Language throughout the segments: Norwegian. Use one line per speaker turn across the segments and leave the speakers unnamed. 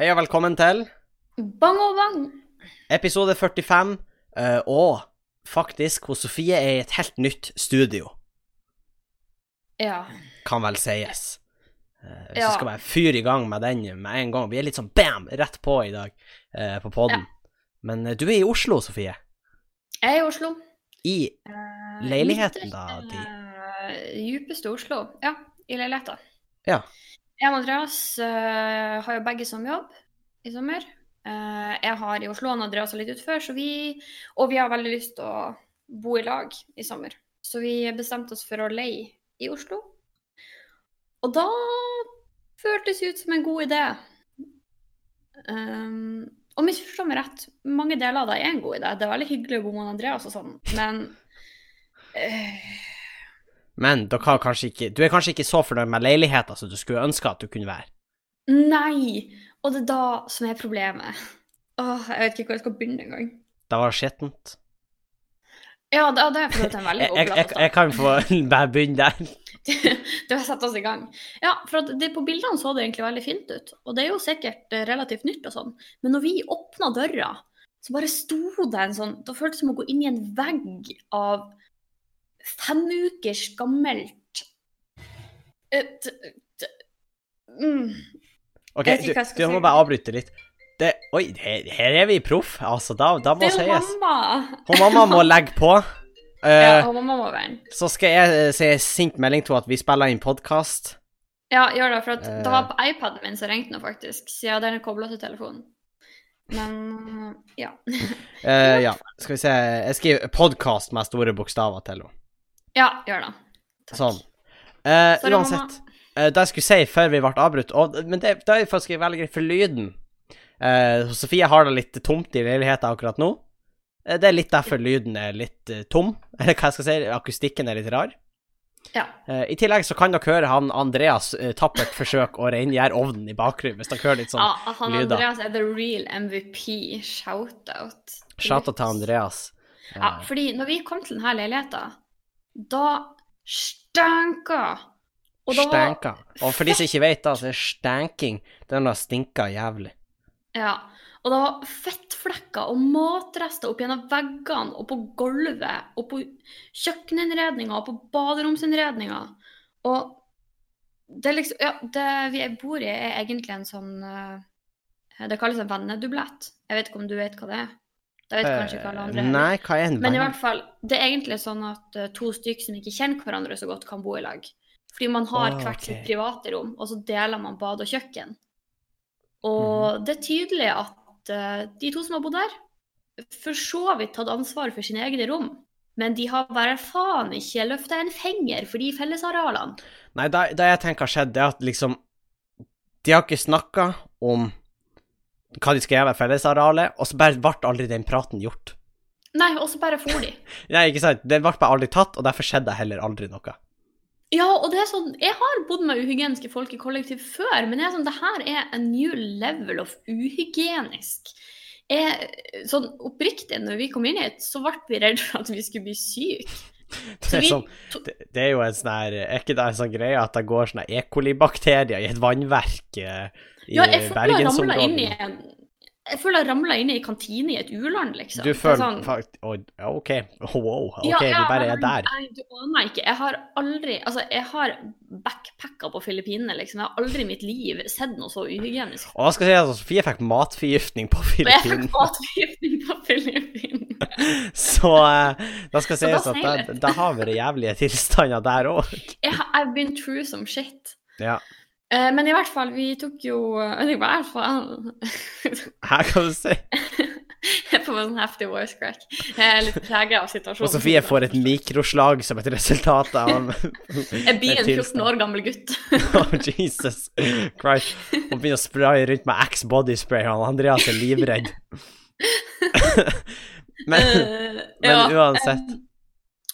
Hei og velkommen til
Bang og bang!
episode 45, eh, og faktisk hvor Sofie er i et helt nytt studio,
Ja.
kan vel sies. Eh, hvis
Ja.
vi skal bare fyre i gang med den med en gang. Vi er litt sånn bam, rett på i dag eh, på poden. Men eh, du er i Oslo, Sofie.
Jeg er i Oslo.
I
Eh,
leiligheten,
ytterst,
da, de-
eh, Djupeste Oslo. Ja, i leiligheta.
Ja.
Jeg og Andreas eh, har jo begge som jobb i sommer. Eh, jeg har i Oslo, han Andreas har litt utfor, så vi Og vi har veldig lyst til å bo i lag i sommer. Så vi bestemte oss for å leie i Oslo. Og da føltes det ut som en god idé. Um, og misforstå meg rett, mange deler av det er en god idé. Det er veldig hyggelig å bo med Andreas og sånn, men eh,
Men dere har kanskje ikke, du er kanskje ikke så fornøyd med leiligheten som du skulle ønske at du kunne være.
Nei! Og det er da som er problemet. Åh, jeg vet ikke hvor jeg skal begynne engang.
Det var skittent.
Ja, det, det er for så vidt en veldig altså.
Jeg,
god
jeg,
plass.
jeg,
å
jeg kan få bare begynne der.
det har satt oss i gang. Ja, for at det, på bildene så det egentlig veldig fint ut. Og det er jo sikkert eh, relativt nytt og sånn. Men når vi åpna døra, så bare sto det en sånn Det føltes som å gå inn i en vegg av fem ukers gammelt et, et, mm.
Ok,
Jeg vet
du,
ikke hva jeg skal
du må
si.
bare avbryte litt. Det, oi, her, her er vi proff, altså. Da, da må
Det er jo
sies.
mamma!
Hun mamma må legge på. Eh,
Ja, og mamma må være en.
Så skal jeg eh, si sint melding til henne at vi spiller inn podkast.
Ja, gjør det, for at
Eh.
det var på iPaden min som ringte nå, faktisk. Siden den er kobla til telefonen. Men eh, ja.
Eh, ja, skal vi se Jeg skriver 'podkast' med store bokstaver til henne.
Ja, gjør det. Takk.
Sånn. Eh,
Sorry, mamma.
uansett. eh, det jeg skulle si før vi ble avbrutt og, Men det, det er faktisk veldig greit for lyden. Eh, Sofie har det litt tomt i leiligheten akkurat nå. Eh, det er litt derfor lyden er litt eh, tom. Eller hva jeg skal si, akustikken er litt rar.
Ja.
Eh, I tillegg så kan dere høre han Andreas eh, tappert forsøk å rengjøre ovnen i bakgrunnen, hvis dere hører litt sånn
Ja, han
lyder.
Andreas er the real MVP. Shout-out.
Shout-out til Andreas. Eh,
Ja, fordi når vi kom til denne leiligheten, da stanka Og da var
Stanka. Og for de som ikke vet, da, så er stanking den der stinker jævlig.
Ja. Og det var fettflekker og matrester opp gjennom veggene og på gulvet og på kjøkkeninnredninga og på baderomsinnredninga. Og det er liksom Ja, det vi bor i, er egentlig en sånn eh, Det kalles en vennedublett. Jeg vet ikke om du vet hva det er? Det vet kanskje ikke alle
Eh,
andre. heller.
Nei, hva er en
Men i
venn?
hvert fall, det er egentlig sånn at eh, to stykker som ikke kjenner hverandre så godt, kan bo i lag. Fordi man har
Ah,
hvert
ok.
sitt private rom, og så deler man bad og kjøkken. Og
Mhm.
det er tydelig at eh, de to som har bodd der, for så vidt tatt ansvar for sine egne rom. Men de har bare faen ikke løfta en finger for de fellesarealene.
Nei, det, det jeg tenker har skjedd, det er at liksom De har ikke snakka om hva de skal gjøre med fellesarealet, og så bare ble aldri den praten gjort.
Nei, og så bare for de.
Nei, ikke sant? Det ble bare aldri tatt, og derfor skjedde det heller aldri noe.
Ja, og det er sånn, jeg har bodd med uhygieniske folk i kollektiv før, men jeg er sånn, det her er a new level of uhygienisk. Jeg, sånn oppriktig, når vi kom inn hit, så ble vi redd for at vi skulle bli syke.
Det
Så
er,
vi,
sånn, det, det er jo en sånn her Er ikke det en sånn greie at det går sånne E. coli-bakterier i et vannverk eh, i
ja, jeg føler jeg ramla inn i liksom.
Bergensområdet?
en, jeg føler jeg ramla inn i en kantine i et u-land, liksom.
Du
Det er
føler
sånn-
fakt- Oi, ja, OK, wow, OK,
Ja, ja,
vi bare er
men-
der.
Nei, du aner ikke. Jeg har aldri Altså, jeg har backpacka på Filippinene, liksom. Jeg har aldri i mitt liv sett noe så uhygienisk.
Og jeg skal si at Sofie fikk matforgiftning på
Og jeg fikk
Filippinene.
matforgiftning på Filippinene.
Så eh, da skal
Så da
sies at
sier
det- det har vært jævlige tilstander der òg.
Jeg har I've been true som shit.
Ja.
Eh, men i hvert fall, vi tok jo eh, Det var i hvert fall
Her kan du si.
Jeg får meg sånn heftig voice crack. Jeg er litt preget av situasjonen.
Og Sofie får et mikroslag som et resultat av
Jeg blir en
tilstand.
14 år gammel gutt.
Oh, Jesus Christ. Og begynner å spraye rundt med Axe body spray, og Andreas er livredd. Men,
Eh,
men
ja.
uansett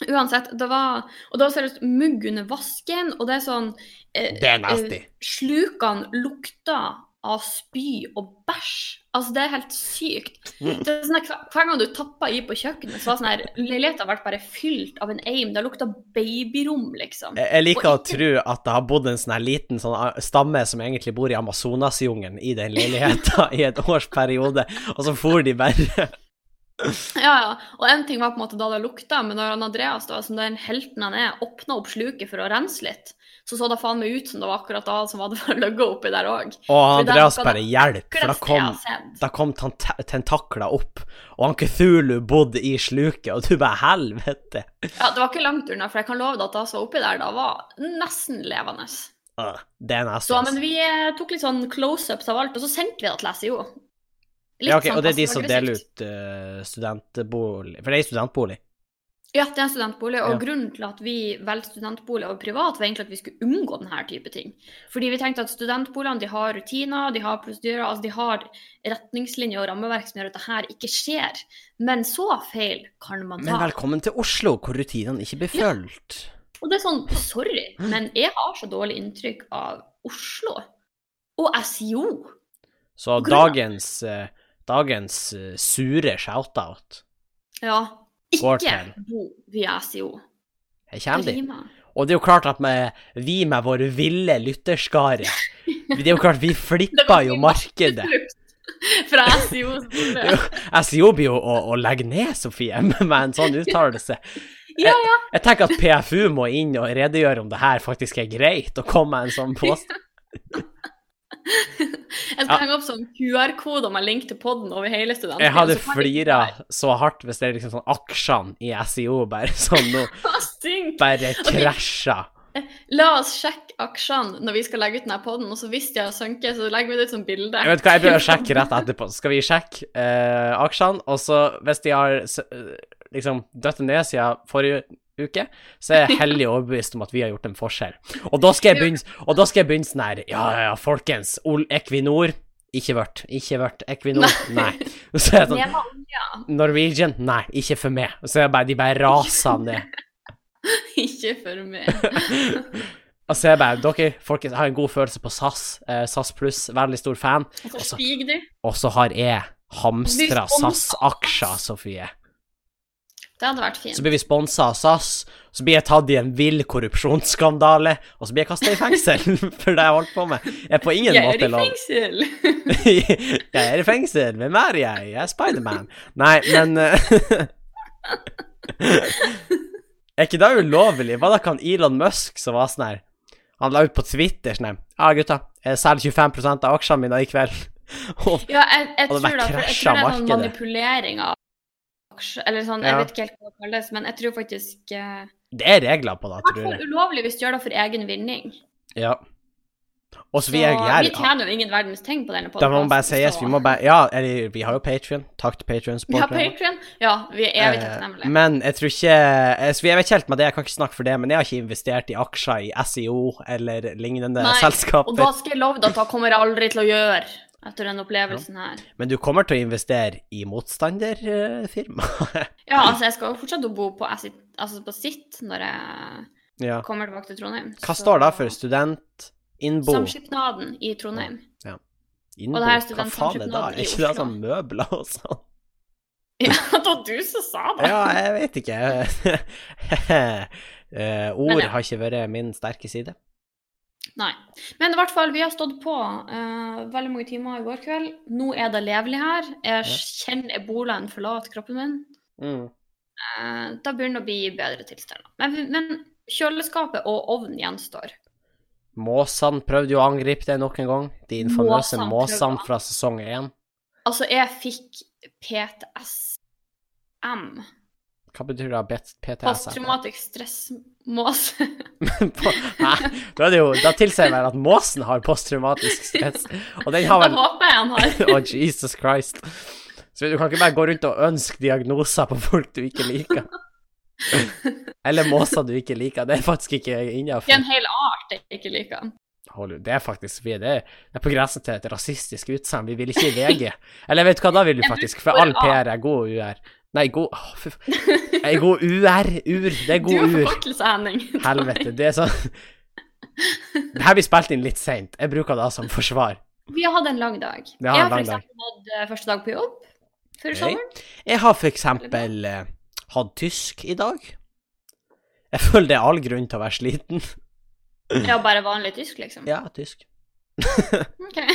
Uansett, det var Og det var seriøst mugg under vasken, og det er sånn eh,
Det er nasty.
eh, Slukene lukta av spy og bæsj. Altså, det er helt sykt.
Mm.
Det er sånn at hver- hver gang du tappa i på kjøkkenet, så var sånn her Leiligheta ble bare fylt av en eim. Det lukta babyrom, liksom.
Jeg jeg liker å tro at det har bodd en sånn her liten sånn a- stamme som egentlig bor i Amazonasjungelen, i den leiligheta i et års periode, og så for de bare
Ja, ja. Og en ting var på en måte da det lukta, men når han Andreas, da, som den helten han er, åpna opp sluket for å rense litt, så så det faen meg ut som det var akkurat da han som hadde ligget oppi der òg.
Og Andreas bare 'hjelp', for da kom,
sett.
da kom tenta- tentakler opp, og han Cthulhu bodde i sluket, og du bare 'helvete'.
Ja, det var ikke langt unna, for jeg kan love deg at det som var oppi der da, var nesten levende.
Øh, Det er nesten
Så, men vi eh, tok litt sånn close-ups av alt, og så sendte vi det til SIO. Litt
ja, ok,
sånn
Og det er de som deler
passiv-aggressivt.
ut eh, studentbolig For det er en studentbolig.
Ja, det er en studentbolig, og
Ja.
grunnen til at vi valgte studentbolig over privat, var egentlig at vi skulle unngå denne type ting. Fordi vi tenkte at studentboligene de har rutiner, de har prosedyrer, altså de har retningslinjer og rammeverk som gjør at det her ikke skjer. Men så feil kan man ta.
Men velkommen til Oslo, hvor rutinene ikke blir fulgt.
Og det er sånn, sorry, men jeg har så dårlig inntrykk av Oslo og E SIO.
Så
Hvordan da?
dagens, eh, dagens eh, sure shout-out
Ja,
Går
ikke
til.
bo via E SIO.
Her kommer
Det
de.
rimer.
Og det er jo klart at med, vi med vår ville lytterskare Det er jo klart, vi flipper jo markedet.
Fra SIO. E.
Jo, SIO blir jo å, å legge ned, Sofie, med en sånn uttalelse.
Ja, ja.
Jeg tenker at PFU må inn og redegjøre om det her faktisk er greit, og komme med en sånn påstand.
Jeg skal
Ja.
henge opp sånn QR-kode med link til podden over hele studenten.
Jeg hadde
så kan vi-
flira så hardt hvis det er liksom sånn aksjene i SIO bare sånn nå
Synk.
bare krasja.
Ah, La oss sjekke aksjene når vi skal legge ut denne podden, og så hvis de har sunket, så legger vi det ut som bilde.
Jeg vet hva, jeg prøver å sjekke rett etterpå. Så Skal vi sjekke eh, aksjene, og så hvis de har s- eh, liksom dødd ned siden forrige uke, så er jeg hellig overbevist om at vi har gjort en forskjell. Og da skal jeg begynne, og da skal jeg begynne sånn her, ja, ja, ja, folkens, Ol Equinor, ikke vørt, ikke vørt, Equinor, nei. Så er jeg sånn,
Neva olja,
Norwegian, nei, ikke for meg. Så er jeg bare, de bare raser ned.
ikke for meg.
Og så er jeg bare, dere, folkens, jeg har en god følelse på SAS, eh, SAS Pluss, veldig stor fan.
Og så
Altså,
stiger de.
Og så har jeg hamstra
Du sponset
SAS-aksjer, Sofie.
Det hadde vært fint.
Så blir vi sponsa av SAS, så blir jeg tatt i en vill korrupsjonsskandale, og så blir jeg kasta i fengsel for det jeg holdt på med. Jeg er på ingen
Jeg er
måte
i
lov.
fengsel!
jeg er i fengsel. Hvem er jeg? Jeg er Spiderman. Nei, men eh, Er ikke det ulovlig? Hva da kan Elon Musk som var sånn her Han la ut på Twitter sånn her Ja, gutta, jeg selger 25 av aksjene mine i kveld. Og
Ja, jeg, jeg,
Og det
tror, da,
bare
for jeg
krasja
tror det er sånn
markedet.
manipulering av aksjer, eller sånn, jeg
Ja.
vet ikke helt hva det kalles, men jeg tror faktisk eh,
det er regler på det,
I hvert
tror jeg.
fall ulovlig hvis du gjør det for egen vinning.
Ja. Og så
Så
vil jeg
vi
gjerne
tjener jo ingen verdens ting på denne
Det
podkasten.
må bare sies, vi må bare Ja, eller vi har jo Patrion. Takk til Patrions
Vi har
supportere.
Patreon. Ja, vi er evig takknemlige.
Eh, men jeg tror ikke eh, så Jeg vet ikke helt med det, jeg kan ikke snakke for det, men jeg har ikke investert i aksjer i SEO eller lignende
Nei, Og
selskaper.
da skal jeg love deg at da kommer jeg aldri til å gjøre, etter den opplevelsen her.
Men du kommer til å investere i motstanderfirma.
Ja, altså, jeg skal jo fortsatt bo på sitt, altså på sitt når jeg
ja.
kommer tilbake til Trondheim.
Hva står det for? Student? Innbo?
Samskipnaden i Trondheim.
Innbo?
og det her
Hva
er
faen er det?
studentsamskipnaden
Er
i
ikke det
Oslo.
sånn møbler og sånn?
Ja, det var du som sa det!
Ja, jeg vet ikke. Eh,
Men
ord
ja.
har ikke vært min sterke side.
Nei. Men i hvert fall, vi har stått på eh, veldig mange timer i går kveld. Nå er det levelig her. Jeg kjenner ebolaen forlate kroppen min.
Mm.
Eh, da begynner det å bli bedre tilstander. Men, men kjøleskapet og ovnen gjenstår.
Måsene prøvde jo å angripe deg nok en gang. De infamøse
Måsene
måsene
prøvde.
fra sesong én.
Altså, jeg fikk PTSM,
Hva betyr det? bet- PTS?
posttraumatisk stressmåse.
Hæ? Da er det jo Da tilsier vel at måsen har posttraumatisk stress, og den har
Da
vel Å,
håper jeg han har.
Jesus Christ. Så du kan ikke bare gå rundt og ønske diagnoser på folk du ikke liker. Eller måser du ikke liker. Det er faktisk ikke
Det er
innafor.
en hel art jeg ikke liker.
Det er faktisk vi, det er, det er på grensen til et rasistisk utsagn. Vi vil ikke i VG. Eller vet du hva, da vil du
Jeg
faktisk,
bruker
for all
ordet A.
PR er god UR. Nei, god Å, fy faen. Ei god UR. Ur. Det er
Du har
god ur.
forkortelse, Henning.
Helvete. Det er sånn Det her blir spilt inn litt seint. Jeg bruker det som forsvar.
Vi har hatt en lang dag.
Vi har
jeg
en
har for
lang dag.
eksempel hatt eh, første dag på jobb før
Ok.
sommeren.
Jeg har for eksempel eh, hatt tysk i dag. Jeg føler det er all grunn til å være sliten.
Ja, bare vanlig tysk, liksom.
Ja, tysk.
Ok.
Ty-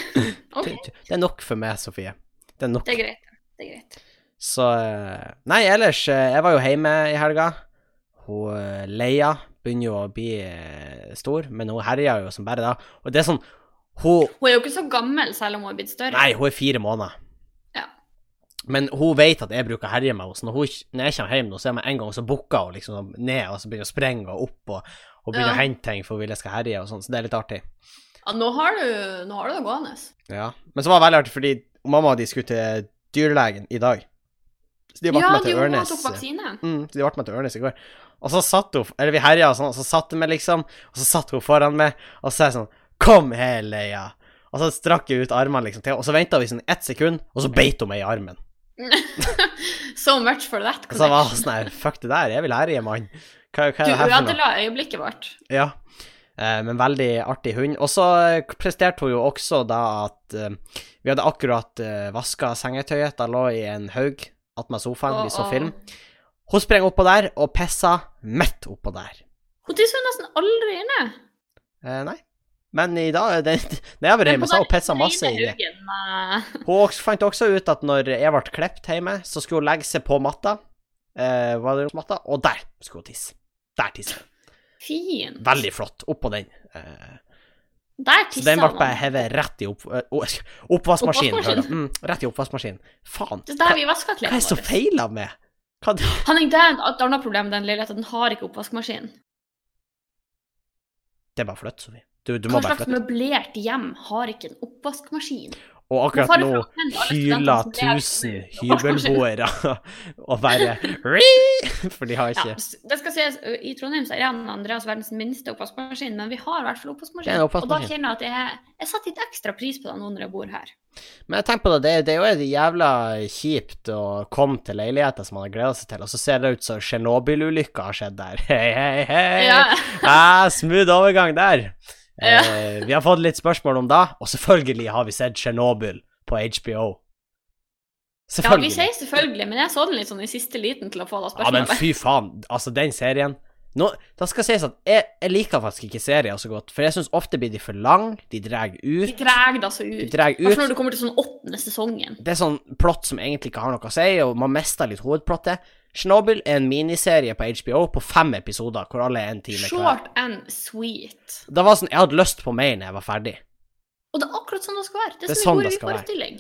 ok,
ty- Det er nok for meg, Sofie. Det er nok.
det er greit. Det er greit.
Så eh, Nei, ellers, eh, jeg var jo hjemme i helga. Hun eh, Leia begynner jo å bli eh, stor, men hun herjer jo som bare da. Og det er sånn Hun
Hun er jo ikke så gammel selv om hun er blitt større.
Nei, hun er fire måneder.
Ja.
Men hun vet at jeg bruker å herje med henne, så når, hun, ikke- når jeg kommer hjem nå, så er jeg en gang så bukker hun liksom ned, og så begynner hun å sprenge og opp, og, og begynner
Ja.
å hente ting for hun vil jeg skal herje og sånn, så det er litt artig.
Ja, nå har du, nå har du det gående.
Ja. Men så var det veldig artig, fordi mamma og de skulle til dyrlegen i dag. Så de ble
ja,
med
de
til
hun
Ørnes.
tok vaksine.
Mm, så de ble med til Ørnes i går. Og så satt hun, eller vi herja og sånn, og så satt hun med liksom, og så satt hun foran meg, og så er jeg sånn Kom her, Leia. Og så strakk jeg ut armene liksom til henne, og så venta vi sånn ett sekund, og så beit hun meg i armen.
so much for that.
Og så var
connection.
jeg sånn her, fuck det der, jeg vil herje, mann. Hva, hva er det
Du
her for noe?
ødela øyeblikket vårt.
Ja. Eh, Men veldig artig hund. Og så eh, presterte hun jo også da at eh, vi hadde akkurat uh, vaska sengetøyet. Da lå i en haug attmed sofaen, vi så
Og- og-
film. Hun sprang oppå der og pissa midt oppå der.
Hun tisser jo nesten aldri inne.
Eh, nei. Men i dag eh, det, Når jeg var hjemme, så har hun pissa masse i det.
det.
Hun også, fant også ut at når jeg ble klippet hjemme, så skulle hun legge seg på matta, eh, matta og der skulle hun tisse. Der tisser hun.
Fin.
Veldig flott. Oppå den. Eh,
Der
Så
tisser
den ble bare
han.
hevet rett i opp, ø, ø, oppvaskmaskinen.
Oppvaskmaskinen.
hører du. Mm, rett i oppvaskmaskinen. Faen.
Det er
Hva,
der vi vasker
hva er
klærne
det som
våre.
feiler med hva,
Han er der, et annet problem med den leiligheten, den har ikke oppvaskmaskin.
Det er bare flytt, Sofie. Du, du må
Hva
bare
slags
flytte.
møblert hjem har ikke en oppvaskmaskin?
Og
Hvorfor
akkurat
er det
nå
for at alle
hyler
studentene som lever
tusen
uten
hybelboere og bare «Ri!» For de har
Ja,
ikke
s- det skal sies, ø, I Trondheim så er Jan Andreas verdens minste oppvaskmaskin, men vi har i hvert fall oppvaskmaskin.
Det er en
Og
oppvaskmaskin.
da kjenner jeg at jeg, jeg setter litt ekstra pris på det nå når jeg bor her.
Men jeg tenker på det, det, det er jo et jævla kjipt å komme til leiligheter som man har gleda seg til, og så ser det ut som Tsjernobyl-ulykka har skjedd der. Hei, hei, hei.
Ja.
Ja, smooth overgang der. Eh, vi har fått litt spørsmål om da, og selvfølgelig har vi sett Tsjernobyl på HBO.
ja, vi
Selvfølgelig.
sier selvfølgelig, men jeg så den litt sånn i siste liten til å få det
Ja, men
spørsmålet.
fy faen. Altså, den serien nå, Da skal sies at jeg, jeg liker faktisk ikke serier så godt, for jeg syns ofte blir de for lang, de drar
de
ut.
drar det så
De
ut.
drar
Hvertfall
ut.
når du kommer til sånn åttende sesongen.
Det er sånn plott som egentlig ikke har noe å si, og man mister litt hovedplottet. Tsjernobyl er en miniserie på HBO på fem episoder, hvor alle er en time hver.
Short and sweet.
Det var sånn, Jeg hadde lyst på mer når jeg var ferdig,
Og det er akkurat sånn det skal være. Det
Det
er
er
som
sånn
en
det
god
skal være.
forestilling.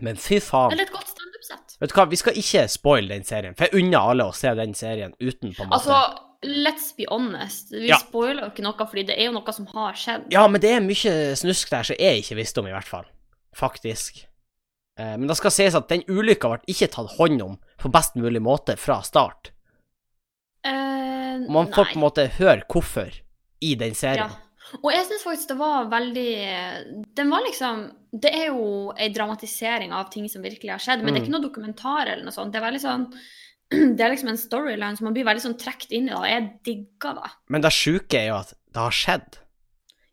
men fy faen.
Eller et godt standup-sett.
Vet du hva, vi skal ikke spoile den serien, for jeg unner alle å se den serien uten, på en måte.
Altså, let's be honest. Vi
Ja.
spoiler jo ikke noe, fordi det er jo noe som har skjedd.
Ja, men det er mye snusk der som jeg ikke visste om, i hvert fall. Faktisk. Eh, men det skal sies at den ulykka ble ikke tatt hånd om på best mulig måte fra start.
Eh,
Og man får
nei.
på en måte høre hvorfor i den
Ja.
serien.
Og jeg syns faktisk det var veldig Den var liksom Det er jo ei dramatisering av ting som virkelig har skjedd, men det er
Mm.
ikke noe dokumentar eller noe sånt. Det er veldig sånn det er liksom en storyline som man blir veldig sånn trukket inn i, og jeg digger det.
Men det sjuke er jo at det har skjedd.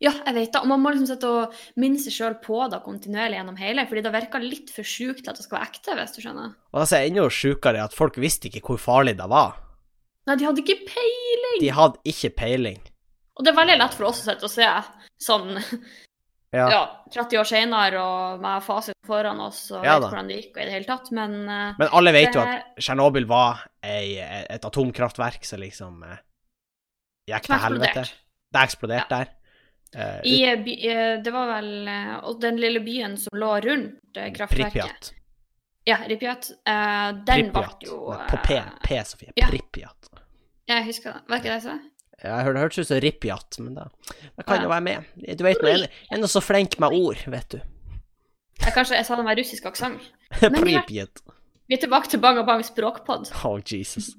Ja, jeg vet det. Og man må liksom sitte og minne seg sjøl på det kontinuerlig gjennom hele, fordi det virker litt for sjukt til at det skal være ekte, hvis du skjønner.
Og det som er enda sjukere, er at folk visste ikke hvor farlig det var.
Nei, de hadde ikke peiling!
De hadde ikke peiling.
Og det er veldig lett for oss å sitte og se sånn
Ja.
ja, 30 år senere og med fasit foran oss og
Ja
vet
da.
hvordan det gikk og i det hele tatt, men eh,
Men alle vet jo
det-
at Tsjernobyl var ei, et atomkraftverk som liksom eh, gikk
som
til helvete.
eksploderte.
Det eksploderte der. Eh,
I, eh, by, eh, det var vel eh, og den lille byen som lå rundt
Mm,
eh, kraftverket.
Pripjat.
Ja, Pripjat. eh, den ble
Pripjat.
jo
Nei, På P,
eh,
P Sofie.
ja.
Pripjat.
Jeg husker det. Var ikke det jeg sa? Eh,
Jeg hørte, det hørtes ut som Ripjat, men da, da kan
Ja.
jo være med. Du vet, jeg er nå så flink med ord, vet du.
Jeg, kanskje jeg sa det med russisk aksent. Men i hvert-
Pripjat.
Vi er tilbake til Bang og Bang språkpod.
Oh, Jesus.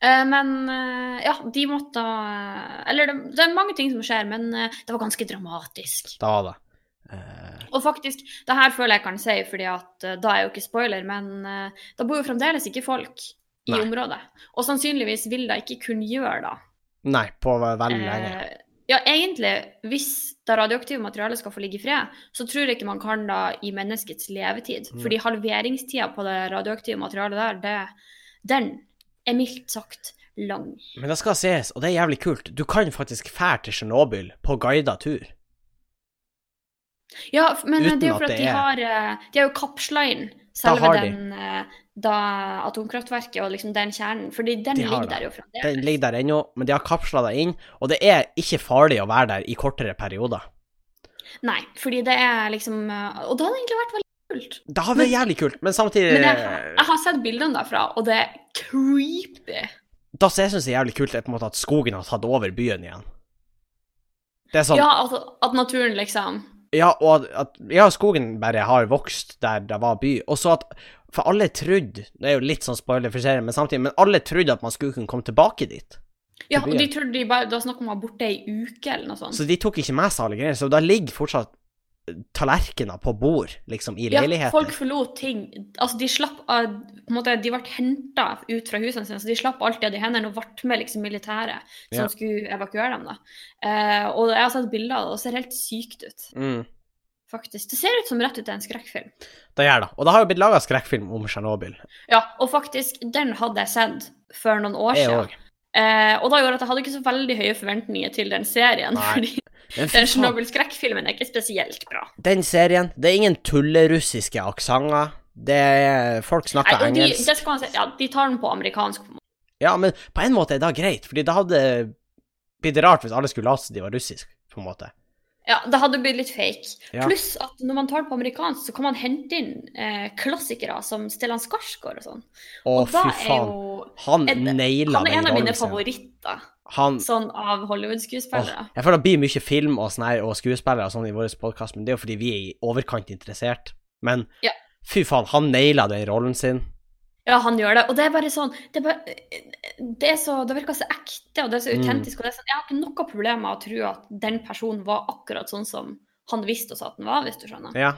Eh, men eh, ja, de måtte eh, Eller det, det er mange ting som skjer, men eh, det var ganske dramatisk.
Da var det. Eh,
Og faktisk, det her føler jeg kan si, fordi at eh, da er jo ikke spoiler, men eh, da bor jo fremdeles ikke folk i
Nei.
området. Og sannsynligvis vil de ikke kunne gjøre det.
nei, på veldig lenge.
Eh, Ja, egentlig, hvis det radioaktive materialet skal få ligge i fred, så tror jeg ikke man kan da i menneskets levetid.
Nei.
Fordi halveringstida på det radioaktive materialet der, det, den er mildt sagt lang.
Men det skal sies, og det er jævlig kult, du kan faktisk fære til Tsjernobyl på guida tur.
Ja, f- men
Uten
det er
at
jo for at
det
de
er-
har, eh, de har jo kapsla inn selve
har de.
den eh, da atomkraftverket og liksom den kjernen. Fordi den
De har
ligger
det.
der jo fremdeles.
Den ligger der ennå, men de har kapsla deg inn, og det er ikke farlig å være der i kortere perioder.
Nei, fordi det er liksom eh, Og det hadde egentlig vært veldig kult.
Det har vært
Men-
jævlig kult, men samtidig eh,
Men jeg, jeg har sett bildene derfra, og det er creepy.
Da som jeg syns det er jævlig kult, er på en måte at skogen har tatt over byen igjen. Det er sånn
Ja, altså at naturen liksom
Ja, og at- at ja, skogen bare har vokst der det var by. Og så at For alle trodde Det er jo litt sånn spoiler for serien, men samtidig Men alle trodde at man skulle kunne komme tilbake dit.
Ja,
Til
og de
byen.
trodde de bare Det var snakk om å være borte ei uke eller noe sånt.
Så de tok ikke med seg alle greier. Så da ligger fortsatt eh, tallerkener på bord, liksom, i
Ja,
leiligheten.
folk forlot ting Altså, de slapp av På en måte, de ble henta ut fra husene sine, så de slapp alt de hadde i hendene, og ble med liksom militæret som
Ja.
skulle evakuere dem, da. Eh, og jeg har sett bilder av det, og det ser helt sykt ut,
Mm,
faktisk. Det ser ut som rett ut av en skrekkfilm.
det gjør det. Og det har jo blitt laga skrekkfilm om Tsjernobyl.
Ja, og faktisk, den hadde jeg sett for noen år
Jeg
siden.
òg.
Eh, og da gjorde at jeg hadde ikke så veldig høye forventninger til den serien.
Nei, Sånn.
fordi
Men fy
den
faen,
Tsjernobyl-skrekkfilmen er ikke spesielt bra.
den serien Det er ingen tullerussiske aksenter. Det er Folk
Nei,
snakker
og de,
engelsk.
det skal man si, ja, de tar den på amerikansk. på en måte.
Ja, men på en måte er det greit, fordi det hadde blitt rart hvis alle skulle late som de var russiske, på en måte.
Ja, Det hadde blitt litt fake.
Ja.
Pluss at når man tar den på amerikansk, så kan man hente inn eh, klassikere som Stellan Skarsgård og sånn.
Å,
Og da
fy
er
faen.
jo
Han
Ed-
naila
Han er
den
en av mine
rollescenen.
favoritter
Han
sånn av
Mm. Åh,
Hollywood-skuespillere.
Jeg føler det blir mye film og, sånn her, og skuespillere og sånn i vår podkast, men det er jo fordi vi er i overkant interessert. Men
Ja.
fy faen, han naila den rollen sin.
Ja, han gjør det. Og det er bare sånn Det, er bare, det, er så, det virker så ekte, og det er så
Mm.
autentisk. Og det er sånn, jeg har ikke noe problem med å tro at den personen var akkurat sånn som han visste oss at den var, hvis du skjønner.
Ja.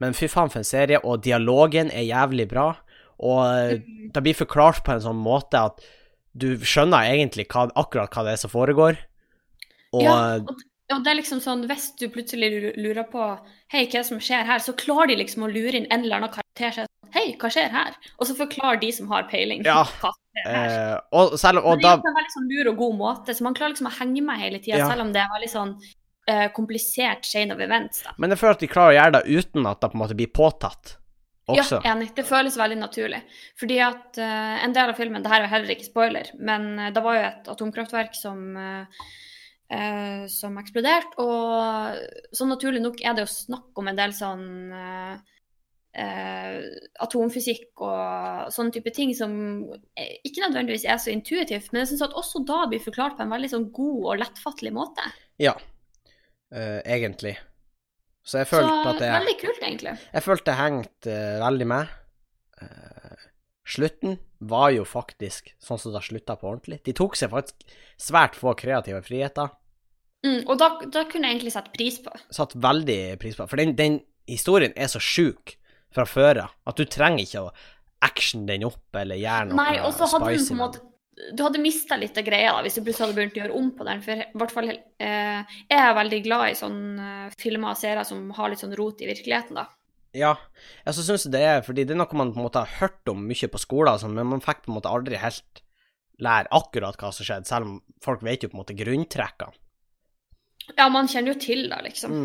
Men fy faen for en serie, og dialogen er jævlig bra. Og eh,
Mm.
det blir forklart på en sånn måte at du skjønner egentlig hva, akkurat hva det er som foregår. Og
ja, og, og det er liksom sånn, hvis du plutselig lurer på Hei, hva er det som skjer her? Så klarer de liksom å lure inn en eller annen karakter som er sånn Hei, hva skjer her? Og så forklarer de som har peiling,
Ja.
hva som skjer her.
eh, og, selv,
Men
og
det
da
er på en veldig sånn lur og god måte, så man klarer liksom å henge med hele tida,
Ja.
selv om det er veldig sånn eh, komplisert chain of events. da.
Men jeg føler at de klarer å gjøre det uten at det på en måte blir påtatt også.
Ja, enig. Det føles veldig naturlig. Fordi at eh, en del av filmen Det her er jo heller ikke spoiler, men eh, det var jo et atomkraftverk som eh, eh, som eksploderte, og så naturlig nok er det jo snakk om en del sånn eh, eh, atomfysikk og sånne type ting som eh, ikke nødvendigvis er så intuitivt, men jeg syns at også da blir forklart på en veldig sånn god og lettfattelig måte.
eh, egentlig. Så jeg
Så
følte at det,
veldig kult, egentlig.
jeg følte det hengte eh, veldig med. Eh, slutten var jo faktisk sånn som det slutta på ordentlig. De tok seg faktisk svært få kreative friheter.
Mm, og da, da kunne jeg egentlig sette pris på.
Satt veldig pris på For den, den historien er så sjuk fra før av at du trenger ikke å action den opp eller gjøre noe
Nei, og så hadde du
spicy
på en
med den.
måte Du hadde mista litt av greia da, hvis du plutselig hadde begynt å gjøre om på den. For i hvert fall eh, jeg er veldig glad i sånne eh, filmer og serier som har litt sånn rot i virkeligheten, da.
Ja, jeg så syns det er fordi det er noe man på en måte har hørt om mye på skolen, og sånn, men man fikk på en måte aldri helt lære akkurat hva som skjedde, selv om folk vet jo på en måte grunntrekkene. Mm.
Ja, man kjenner jo til det, liksom.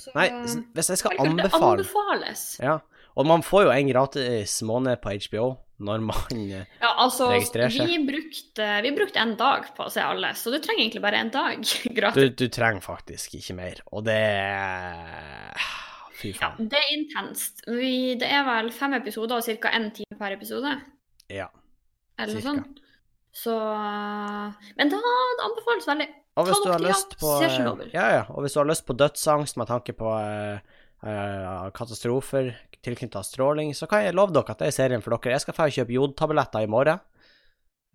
Så,
Nei,
eh,
s- hvis jeg skal
veldig kult. Det
anbefale
anbefales.
Ja, og man får jo en gratis måned på HBO når man eh,
Ja, altså,
Registrer seg.
vi brukte, vi brukte en dag på å se alle, så du trenger egentlig bare en dag
Du,
gratis.
du trenger faktisk ikke mer, og det Fy faen.
Det er intenst. Vi, det er vel fem episoder og ca. én time per episode.
Ja.
Eller noe
Cirka.
sånt. Så eh, Men da det anbefales veldig.
Og hvis
Ta
du har
nok tid,
lyst
ja.
på
Se
eh,
Chernobyl.
Ja, ja. Og hvis du har lyst på dødsangst med tanke på eh, eh, katastrofer tilknyttet stråling, så kan jeg love dere at det er serien for dere. Jeg skal dra og kjøpe jodtabletter i morgen.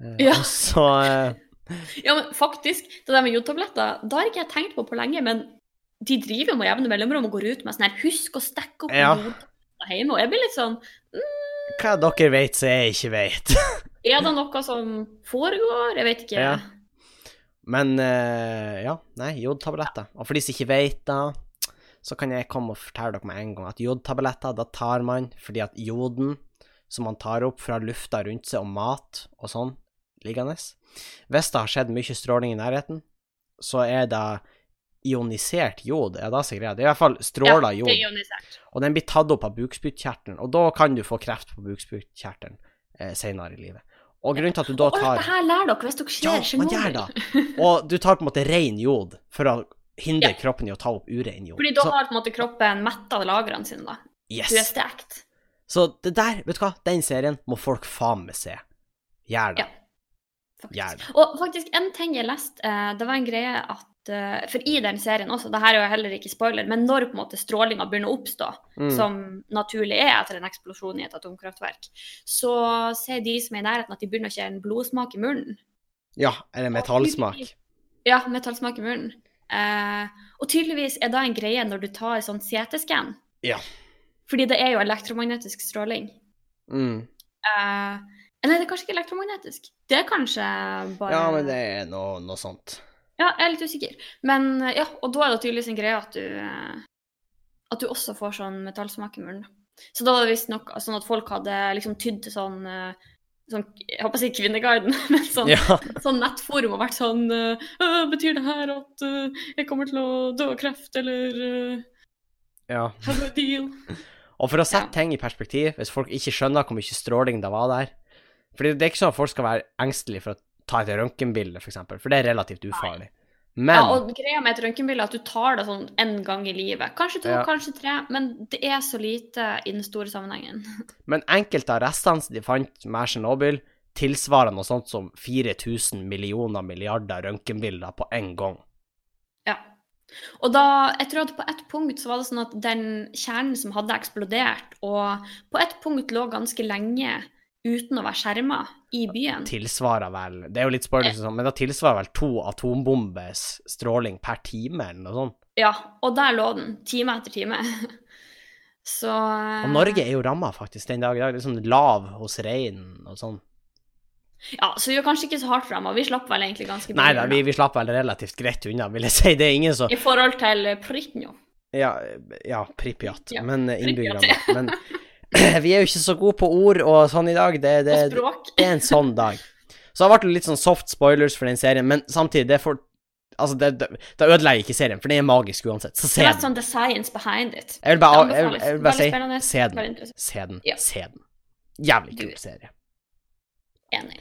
Eh,
Ja.
og Så eh,
Ja, men faktisk, det der med jodtabletter, det har ikke jeg tenkt på på lenge, men de driver jo med jevne mellomrom og går ut med sånn her Husk å stikke opp
Ja.
jodtabletter hjemme. Og jeg blir litt sånn
hva dere vet, så jeg ikke vet.
Er det noe som foregår? Jeg vet ikke.
Ja. Men eh, ja, nei, jodtabletter. Og for de som ikke vet da, så kan jeg komme og fortelle dere med en gang at jodtabletter, da tar man fordi at joden som man tar opp fra lufta rundt seg og mat og sånn, liggende Hvis det har skjedd mye stråling i nærheten, så er det ionisert jod, er det som er greia. Det er i hvert fall stråla
ja,
jod
det er ionisert.
og den blir tatt opp av bukspyttkjertelen, og da kan du få kreft på bukspyttkjertelen eh, senere i livet. Og grunnen til at du da
Og alt
tar
det her lærer dere hvis dere ser
Ja, man gjør
Tsjernobyl.
det. Og du tar på en måte ren jod for å hindre
Ja.
kroppen i å ta opp urein jod.
Fordi da har på en måte kroppen metta lagrene sine, da.
yes.
Du er stekt.
Så det der, vet du hva, den serien må folk faen meg se. Gjør det.
Faktisk.
Gjør det.
Og faktisk, en ting jeg leste, eh, det var en greie at eh, For i den serien også, det her er jo heller ikke spoiler, men når på en måte strålinga begynner å oppstå,
Mm.
som naturlig er etter en eksplosjon i et atomkraftverk, så ser de som er i nærheten at de begynner å kjenne blodsmak i munnen.
Ja, eller metallsmak.
Ja, metallsmak i munnen. Eh, og tydeligvis er det en greie når du tar sånn CT-skann.
Ja.
Fordi det er jo elektromagnetisk stråling.
Mm.
Eh, nei, det er kanskje ikke elektromagnetisk. Det er kanskje bare
Ja, men det er noe, noe sånt.
Ja, jeg er litt usikker. Men eh, ja, og da er det tydeligvis en greie at du eh, At du også får sånn metallsmak i munnen. Så da var det visstnok sånn at folk hadde liksom tydd til sånn eh, Sånn, jeg håper å si Kvinneguiden, men sånn,
Ja.
sånn nettforum og vært sånn eh, «Øh, Betyr det her at eh, jeg kommer til å dø av kreft, eller eh,
ja.
have a deal?
Og for å sette
Ja.
ting i perspektiv, hvis folk ikke skjønner hvor mye stråling det var der Fordi det er ikke sånn at folk skal være engstelige for å ta et røntgenbilde, f.eks., for, for det er relativt ufarlig. Men
Ja, og greia med et røntgenbilde er at du tar det sånn en gang i livet. Kanskje to,
Ja.
kanskje tre, men det er så lite i den store sammenhengen.
Men enkelte av restene som de fant med Tsjernobyl, tilsvarer noe sånt som 4000 millioner milliarder røntgenbilder på én gang.
Ja. Og da, jeg tror at på et punkt så var det sånn at den kjernen som hadde eksplodert, og på et punkt lå ganske lenge uten å være skjerma i byen.
Tilsvarer vel Det er jo litt spørsmål, sånn, men det tilsvarer vel to atombombes stråling per time, eller noe sånt.
Ja, og der lå den, time etter time. Så
Og Norge er jo ramma, faktisk, den dag i dag. Litt sånn lav hos reinen og sånn.
Ja, så vi var kanskje ikke så hardt ramma. Vi slapp vel egentlig ganske
Nei da,
unna.
vi, vi slapp vel relativt greit unna, vil jeg si. Det er ingen som
I forhold til Pritnjo.
Ja, ja Pripjat.
Ja,
Men eh, innbyggerne
Pripyat.
Men vi er jo ikke så gode på ord og sånn i dag. Det,
Og
det,
språk.
det er en sånn dag. Så det har vært litt sånn soft spoilers for den serien, men samtidig, det får Altså, det, det, det ødelegger ikke serien, for den er magisk uansett. Så se
Det er
den.
sånn the science behind it.
Jeg vil bare, jeg, vil-
anbefales.
jeg vil bare
Veldig spennende,
si se
veldig
den.
interessant.
Se den.
Ja.
Se den. Jævlig
Du-
kul serie.
Enig.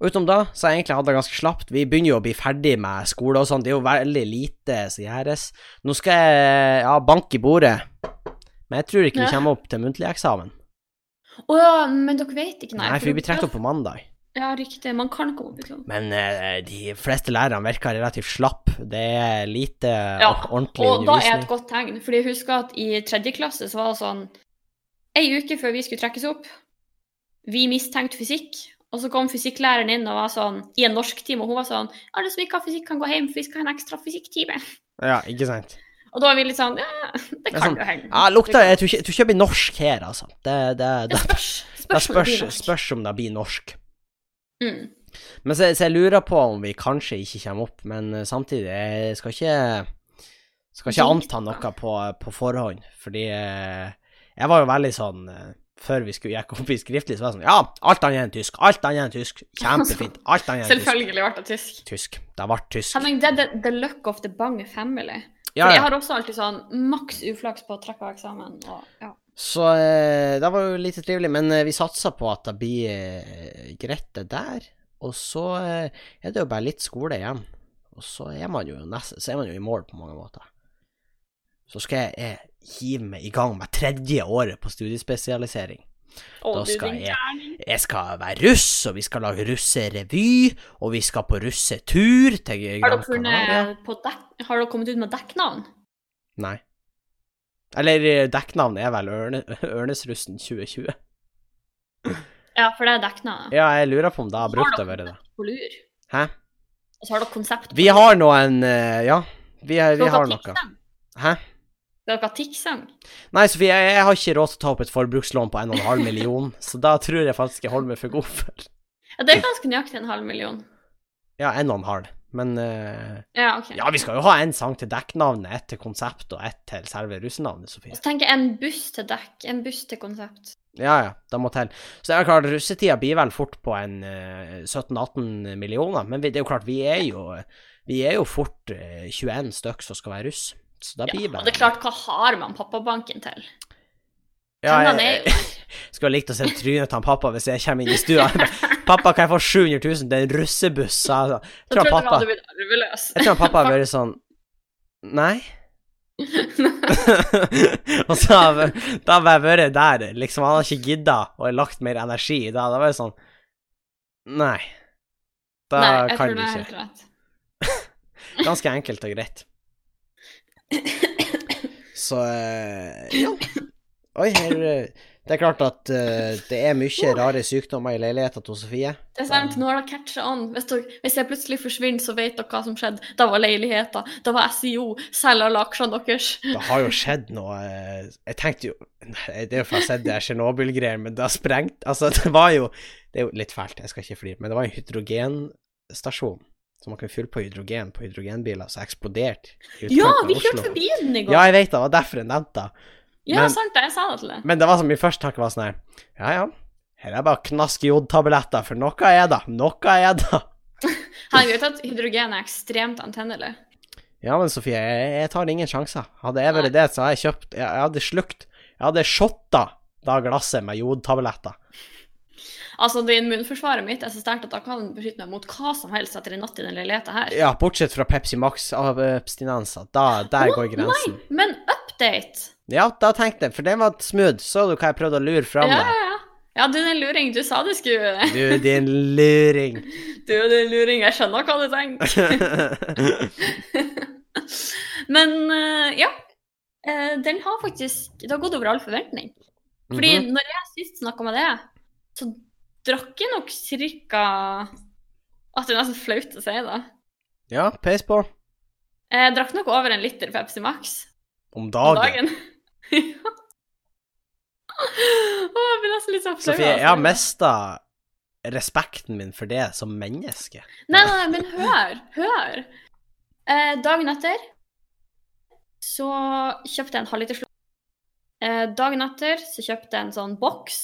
Og utenom da, så har jeg egentlig hatt det ganske slapt. Vi begynner jo å bli ferdig med skole og sånn. Det er jo veldig lite som gjøres. Nå skal jeg ja, banke i bordet, men jeg tror ikke
Ja.
vi kommer opp til muntlig eksamen.
Å ja, men dere vet ikke, nei.
Nei, for vi blir trukket opp på mandag.
Ja, riktig. Man kan komme opp i klubben.
Men eh, de fleste lærerne virker relativt slapp. Det er lite
Ja,
og ordentlig
Og da er et
undervisning.
godt tegn, fordi jeg husker at i tredje klasse så var det sånn Ei uke før vi skulle trekkes opp, vi mistenkte fysikk. Og så kom fysikklæreren inn og var sånn, i en norsktime, og hun var sånn 'Alle som ikke har fysikk, kan gå hjem, for vi skal ha en ekstra fysikktime.'
Ja, ikke sant.
Og da var vi litt sånn Ja,
er
det kan
sånn,
jo hende.
Ja, lukta Jeg tror ikke jeg tror ikke det blir norsk her, altså. Det, det,
Det
det,
spørs.
det
Spørs.
spørs,
om det blir norsk.
spørs om det blir norsk.
Mm.
Men så, så jeg lurer på om vi kanskje ikke kommer opp, men eh, samtidig jeg skal ikke Skal ikke
Jinx,
anta
da.
noe på, på forhånd, fordi eh, jeg var jo veldig sånn eh, før vi skulle gikk opp i skriftlig, så var jeg sånn Ja, alt annet enn tysk. Alt annet enn tysk. Kjempefint. Alt annet enn tysk.
Selvfølgelig ble det tysk.
Tysk. Det ble tysk.
Henning, det er the, the luck of the bang family.
Ja,
For jeg
ja.
har også alltid sånn maks uflaks på å trekke av eksamen. Og, ja.
Så eh, det var jo lite trivelig, men eh, vi satser på at det blir eh, greit, det der. Og så eh, er det jo bare litt skole igjen. Og så er man jo nest, så er man jo i mål på mange måter. Så skal jeg eh, hive meg i gang med tredje året på studiespesialisering.
Å,
Da
du,
skal
din
jeg-
gærning.
Jeg skal være russ, og vi skal lage russerevy, og vi skal på russetur til
Har
Gran
dere,
Canaria.
funnet på dekk, har dere kommet ut med dekknavn?
Nei. Eller eh, dekknavnet er vel Ørne, Ørnesrussen 2020.
Ja, for det er dekknavn.
Ja, jeg lurer på om det har brukt
dere
å være det.
på lur?
Hæ?
Og så har dere konsept.
Vi har noen eh, Ja, vi, er, vi har noe. Hæ?
Skal dere ha tikksang?
Nei, Sofie, jeg, jeg har ikke råd til å ta opp et forbrukslån på 1,5 million, så da tror jeg faktisk jeg holder meg for god for
Ja, det er ganske nøyaktig en halv million.
Ja, 1,5. Men eh,
Ja, ok.
ja, vi skal jo ha en sang til dekknavnet, ett til konsept og ett til selve russenavnet, Sofie.
Og så tenker jeg en buss til dekk, en buss til konsept.
Ja, ja, det må til. Så det er klart, russetida blir vel fort på en eh, 17-18 millioner, men vi, det er jo klart, vi er jo, vi er jo fort eh, 21 stykk som skal være russ. Så det
Ja,
blir
og
vel
det er klart, hva har man pappabanken til?
Ja,
Tennene
jeg-
er jo der.
Skulle likt å se trynet til han pappa hvis jeg kommer inn i stua. Han bare, pappa, kan jeg få 700 000 til en russebuss? Altså,
Jeg
tror
trodde
han
han hadde
pappa,
blitt arveløs.
jeg tror han pappa har vært sånn Nei. og så har jeg- da har jeg vært der, liksom. Han har ikke gidda og lagt mer energi i det. Da var jeg sånn Nei. Da
Nei,
kan
jeg
du
tror det er
ikke.
helt rett.
Ganske enkelt og greit. Så eh, ja. Oi, her eh, Det er klart at eh, det er mye rare sykdommer i leiligheten til Sofie.
Det er sant, nå har dere catcha on. Hvis, dere, hvis jeg plutselig forsvinner, så vet dere hva som skjedde. Da var leiligheten, da var SIO, selg alle aksjene deres.
Det har jo skjedd noe eh, Jeg tenkte jo Nei, Det er jo for jeg har sett det Tsjernobyl-greier, men det har sprengt Altså, det var jo Det er jo litt fælt, jeg skal ikke flire, men det var en hydrogenstasjon som man kunne fylle på hydrogen på hydrogenbiler, så eksploderte i utkanten
Ja,
av
vi
Oslo.
kjørte forbi den i går.
Ja,
Ja,
jeg vet det, det var derfor jeg nevnte det. men-
sant det, jeg sa det til deg.
Men det var som min første tanke var sånn her Ja, ja. Her er bare knask jodtabletter, for noe er det. Noe er det.
Han vet at hydrogen er ekstremt antennelig.
Ja, men Sofie, jeg, jeg tar ingen sjanser. Hadde jeg
Nei.
vært det, så hadde jeg kjøpt Jeg, jeg hadde slukt Jeg hadde shotta da glasset med jodtabletter.
Altså, det immunforsvaret mitt er så sterkt at da kan den beskytte meg mot hva som helst etter en natt i den leiligheten her.
Ja, bortsett fra Pepsi Max av abstinenser. Da, der
Å,
går grensen.
Nei, men update!
Ja, da tenkte jeg, for den var smooth. Så du hva jeg prøvde å lure
Ja,
fram
ja,
der?
ja. Ja, du er en luring. Du sa du skulle
Du, din luring.
Du er en luring. Jeg skjønner hva du tenker. Men eh, ja. Eh, den har faktisk Det har gått over all forventning. Fordi
Mhm.
når jeg sist snakka med deg, så drakk jeg nok cirka At det er nesten flaut å si det.
Ja, peis på.
Eh, Jeg drakk nok over en liter Pepsi Max
Om
om
dagen.
dagen. Ja. Å, jeg blir nesten litt sånn flau.
Sofie,
altså.
jeg har mista respekten min for det som menneske.
Nei, nei, nei, men hør, hør. Eh, dagen etter så kjøpte jeg en halvliter slå. Eh, dagen etter så kjøpte jeg en sånn boks.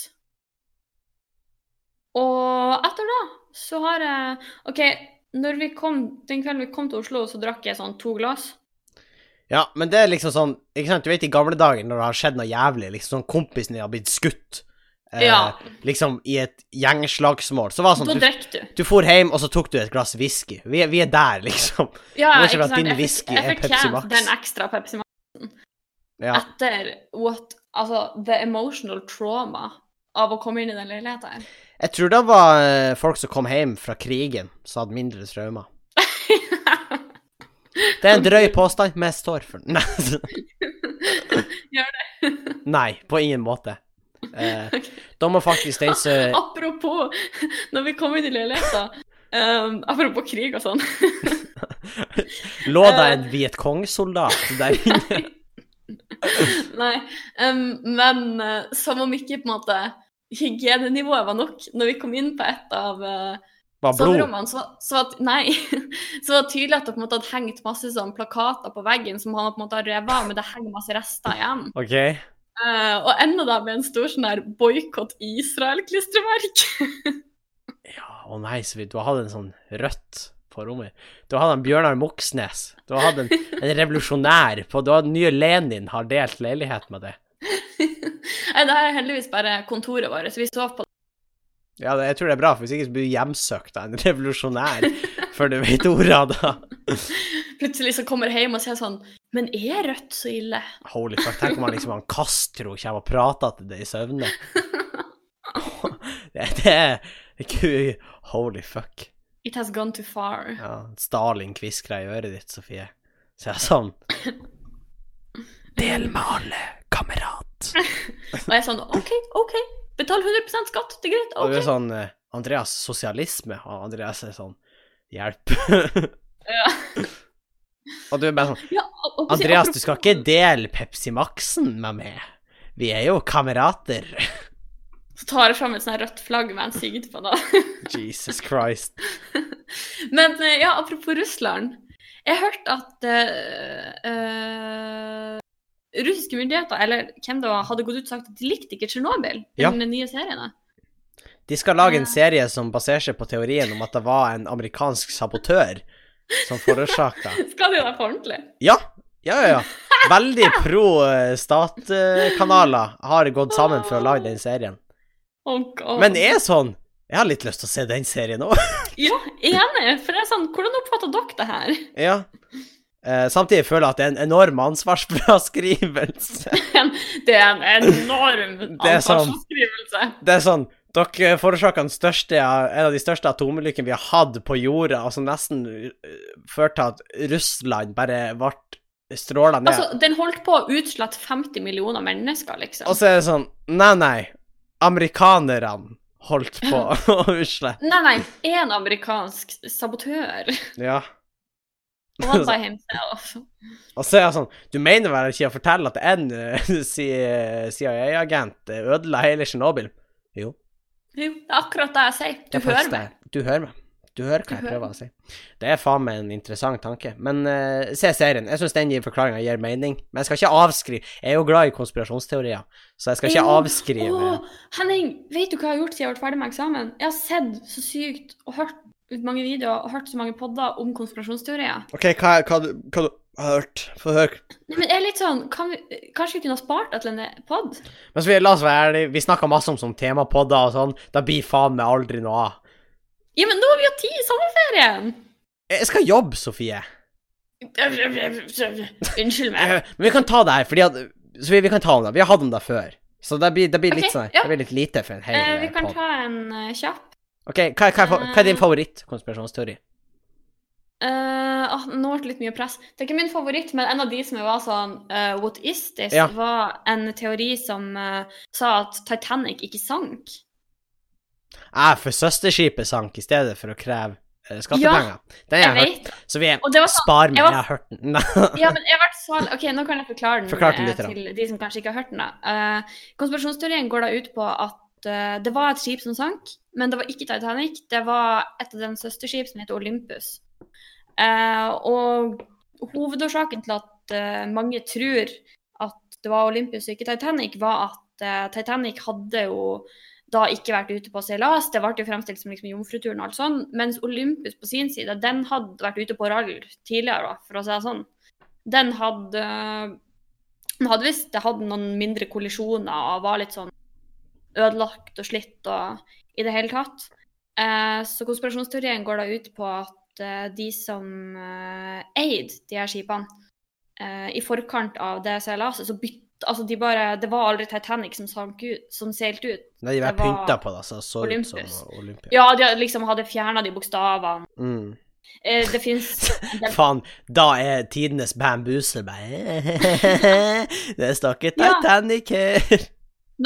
Og etter da så har jeg OK, når vi kom, den kvelden vi kom til Oslo, så drakk jeg sånn to glass.
Ja, men det er liksom sånn Ikke sant, du vet i gamle dager når det har skjedd noe jævlig, liksom sånn kompisen din har blitt skutt, eh,
ja,
liksom i et gjengslagsmål, så var det sånn
da
du
drikker du.
Du for hjem, og så tok du et glass whisky. Vi er, vi er der, liksom. Det
Ja,
var ikke
ikke
at
sant.
din
Jeg fikk-
whisky er
jeg
Pepsi
fortjente
Max.
Den ekstra Pepsi Max
Ja,
etter what Altså, the emotional trauma av å komme inn i den leiligheten her.
jeg tror det var eh, folk som kom hjem fra krigen, som hadde mindre traumer. Det er en drøy påstand, men jeg står for den. Nei.
Gjør
det. Nei, på ingen måte. Eh, da må faktisk den som
Apropos, når vi kom inn i leiligheten ehm, Apropos krig og sånn.
Lå det en Vietcong-soldat der inne?
Nei. ehm, men eh, som om ikke på en måte hygienenivået var nok. Når vi kom inn på et av eh,
Var blod?
soverommene, så, så, var- nei, så var det tydelig at det på en måte hadde hengt masse sånn plakater på veggen som han på en måte har revet av, men det henger masse rester igjen.
OK.
Eh, og enda da med en stor sånn her boikott Israel-klistremerke.
Ja, å nei, så vidt. Du har hatt en sånn rødt på rommet. Du har hatt en Bjørnar Moxnes. Du har hatt en, en revolusjonær på Du har den nye Lenin har delt leilighet med deg.
Nei, det her er heldigvis bare kontoret vårt, så vi sov på
Ja, det, jeg tror det er bra, for hvis ikke så blir du hjemsøkt av en revolusjonær før du vet ordet av det.
Plutselig så kommer jeg hjem og sier sånn Men er rødt så ille?
Holy fuck, tenk om han liksom han Castro kommer og prater til deg i søvne. Det, det er ku- Holy fuck.
It has gone too far.
Ja, Stalin kviskra i øret ditt, Sofie. Så jeg sånn Del med alle, kamerat.
Og jeg er sånn OK, OK. Betal 100 skatt, det er greit.
Og du er
OK.
sånn eh, Andreas sosialisme, og Andreas er sånn Hjelp.
Ja.
Og du er bare sånn
Ja, og- og-
Andreas, du skal ikke dele Pepsi Max-en med meg. Vi er jo kamerater.
Så tar jeg fram et sånt her rødt flagg med en sigd på, da.
Jesus Christ.
Men eh, ja, apropos Russland. Jeg hørte at eh, eh, russiske myndigheter, eller hvem det var, hadde gått ut og sagt at de likte ikke Tsjernobyl,
Ja.
den nye serien. da.
De skal lage en
Ja.
serie som baserer seg på teorien om at det var en amerikansk sabotør som forårsaka
Skal de da på ordentlig?
Ja, ja, ja. ja. Veldig pro eh, stat-kanaler har gått sammen for å lage den serien.
Oh, God.
Men er sånn Jeg har litt lyst til å se den serien òg.
Ja, enig. For det er sånn, hvordan oppfatter dere det her?
Ja. Eh, samtidig føler jeg at det er en enorm ansvarsfraskrivelse.
Det er en enorm
Det er sånn- sant.
ansvarsforskrivelse.
Det er sånn Dere forårsaka den største, en av de største atomulykkene vi har hatt på jorda, og som nesten eh, førte til at Russland bare ble stråla ned.
Altså, den holdt på å utslette 50 millioner mennesker, liksom.
Og så er det sånn Nei, nei. Amerikanerne holdt på å utslette.
Nei, nei, en amerikansk sabotør.
Ja.
One by himself.
Og så er jeg sånn Du mener vel ikke å fortelle at en eh, C- CIA-agent eh, ødela hele Tsjernobyl? Jo.
Jo, det er akkurat det jeg sier. Du
jeg
hører
forstår.
meg.
Du hører meg. Du hører hva
Du
jeg
hører
prøver å si. Det er faen meg en interessant tanke. Men eh, se serien. Jeg syns den gir forklaringa gir mening. Men jeg skal ikke avskrive Jeg er jo glad i konspirasjonsteorier, så jeg skal ikke
Jo.
avskrive
Åh, Henning, vet du hva jeg har gjort siden jeg ble ferdig med eksamen? Jeg har sett så sykt og hørt ut mange videoer og hørt så mange podder om konspirasjonsteorier.
OK, hva, hva, du- hva du har hørt? Få høre.
Nei, men jeg er litt sånn, kan vi, Kanskje vi kunne ha spart det til en pod?
Men så vi, la oss være ærlige. Vi snakker masse om sånn temapodder og sånn. Da blir faen meg aldri noe av.
Ja, men nå har vi jo tid i sommerferien!
Jeg skal jobbe, Sofie.
Unnskyld meg.
Eh, Men vi kan ta det her, fordi at så vi, vi kan ta om det. Vi har hatt om det før. Så det blir, det blir litt
Ok,
sånn her-
ja.
Det blir litt lite for en hel
Eh, vi
eh,
kan
podd.
ta Eh. en eh, kjapp.
OK, hva, hva, er fa- hva er din favorittkonspirasjonsteori?
Eh, ah, nå ble det litt mye press. Det er ikke min favoritt, men en av de som jeg var sånn eh, What is this?
Ja.
var en teori som eh, sa at Titanic ikke sank.
Jeg for søsterskipet sank i stedet for å kreve eh, skattepenger. Den
Jeg
har jeg hørt.
vet.
Så vi er
Og det var sånn
Spar meg,
jeg var-
jeg har hørt den. Nei.
Ja, men jeg har vært så Ok, nå kan jeg forklare den,
Forklar den
eh,
litt, da.
til de som kanskje ikke har hørt den. da. Eh, konspirasjonsteorien går da ut på at eh, det var et skip som sank, men det var ikke Titanic. Det var et av dens søsterskip som heter Olympus. Eh, og hovedårsaken til at eh, mange tror at det var Olympus og ikke Titanic, var at eh, Titanic hadde jo da ikke vært ute på seilas. Det ble jo fremstilt som liksom jomfruturen og alt sånn. Mens Olympus på sin side, den hadde vært ute på rall tidligere, da, for å si det sånn. Den hadde Den hadde visst det hadde noen mindre kollisjoner og var litt sånn ødelagt og slitt og i det hele tatt. Eh, så konspirasjonsteorien går da ut på at eh, de som eh, eide de her skipene eh, i forkant av det seilaset, så bytta Altså, de bare Det var aldri Titanic som, sank ut, som seilte ut.
Nei, de var
Det var
pynta på det, altså. så det så ut som
Olympus.
Olympia.
Ja, de hadde liksom hadde fjerna de bokstavene.
Mm.
Eh, det fins
Faen, da er tidenes bambuse bare Det står ikke
Ja.
Titanic her.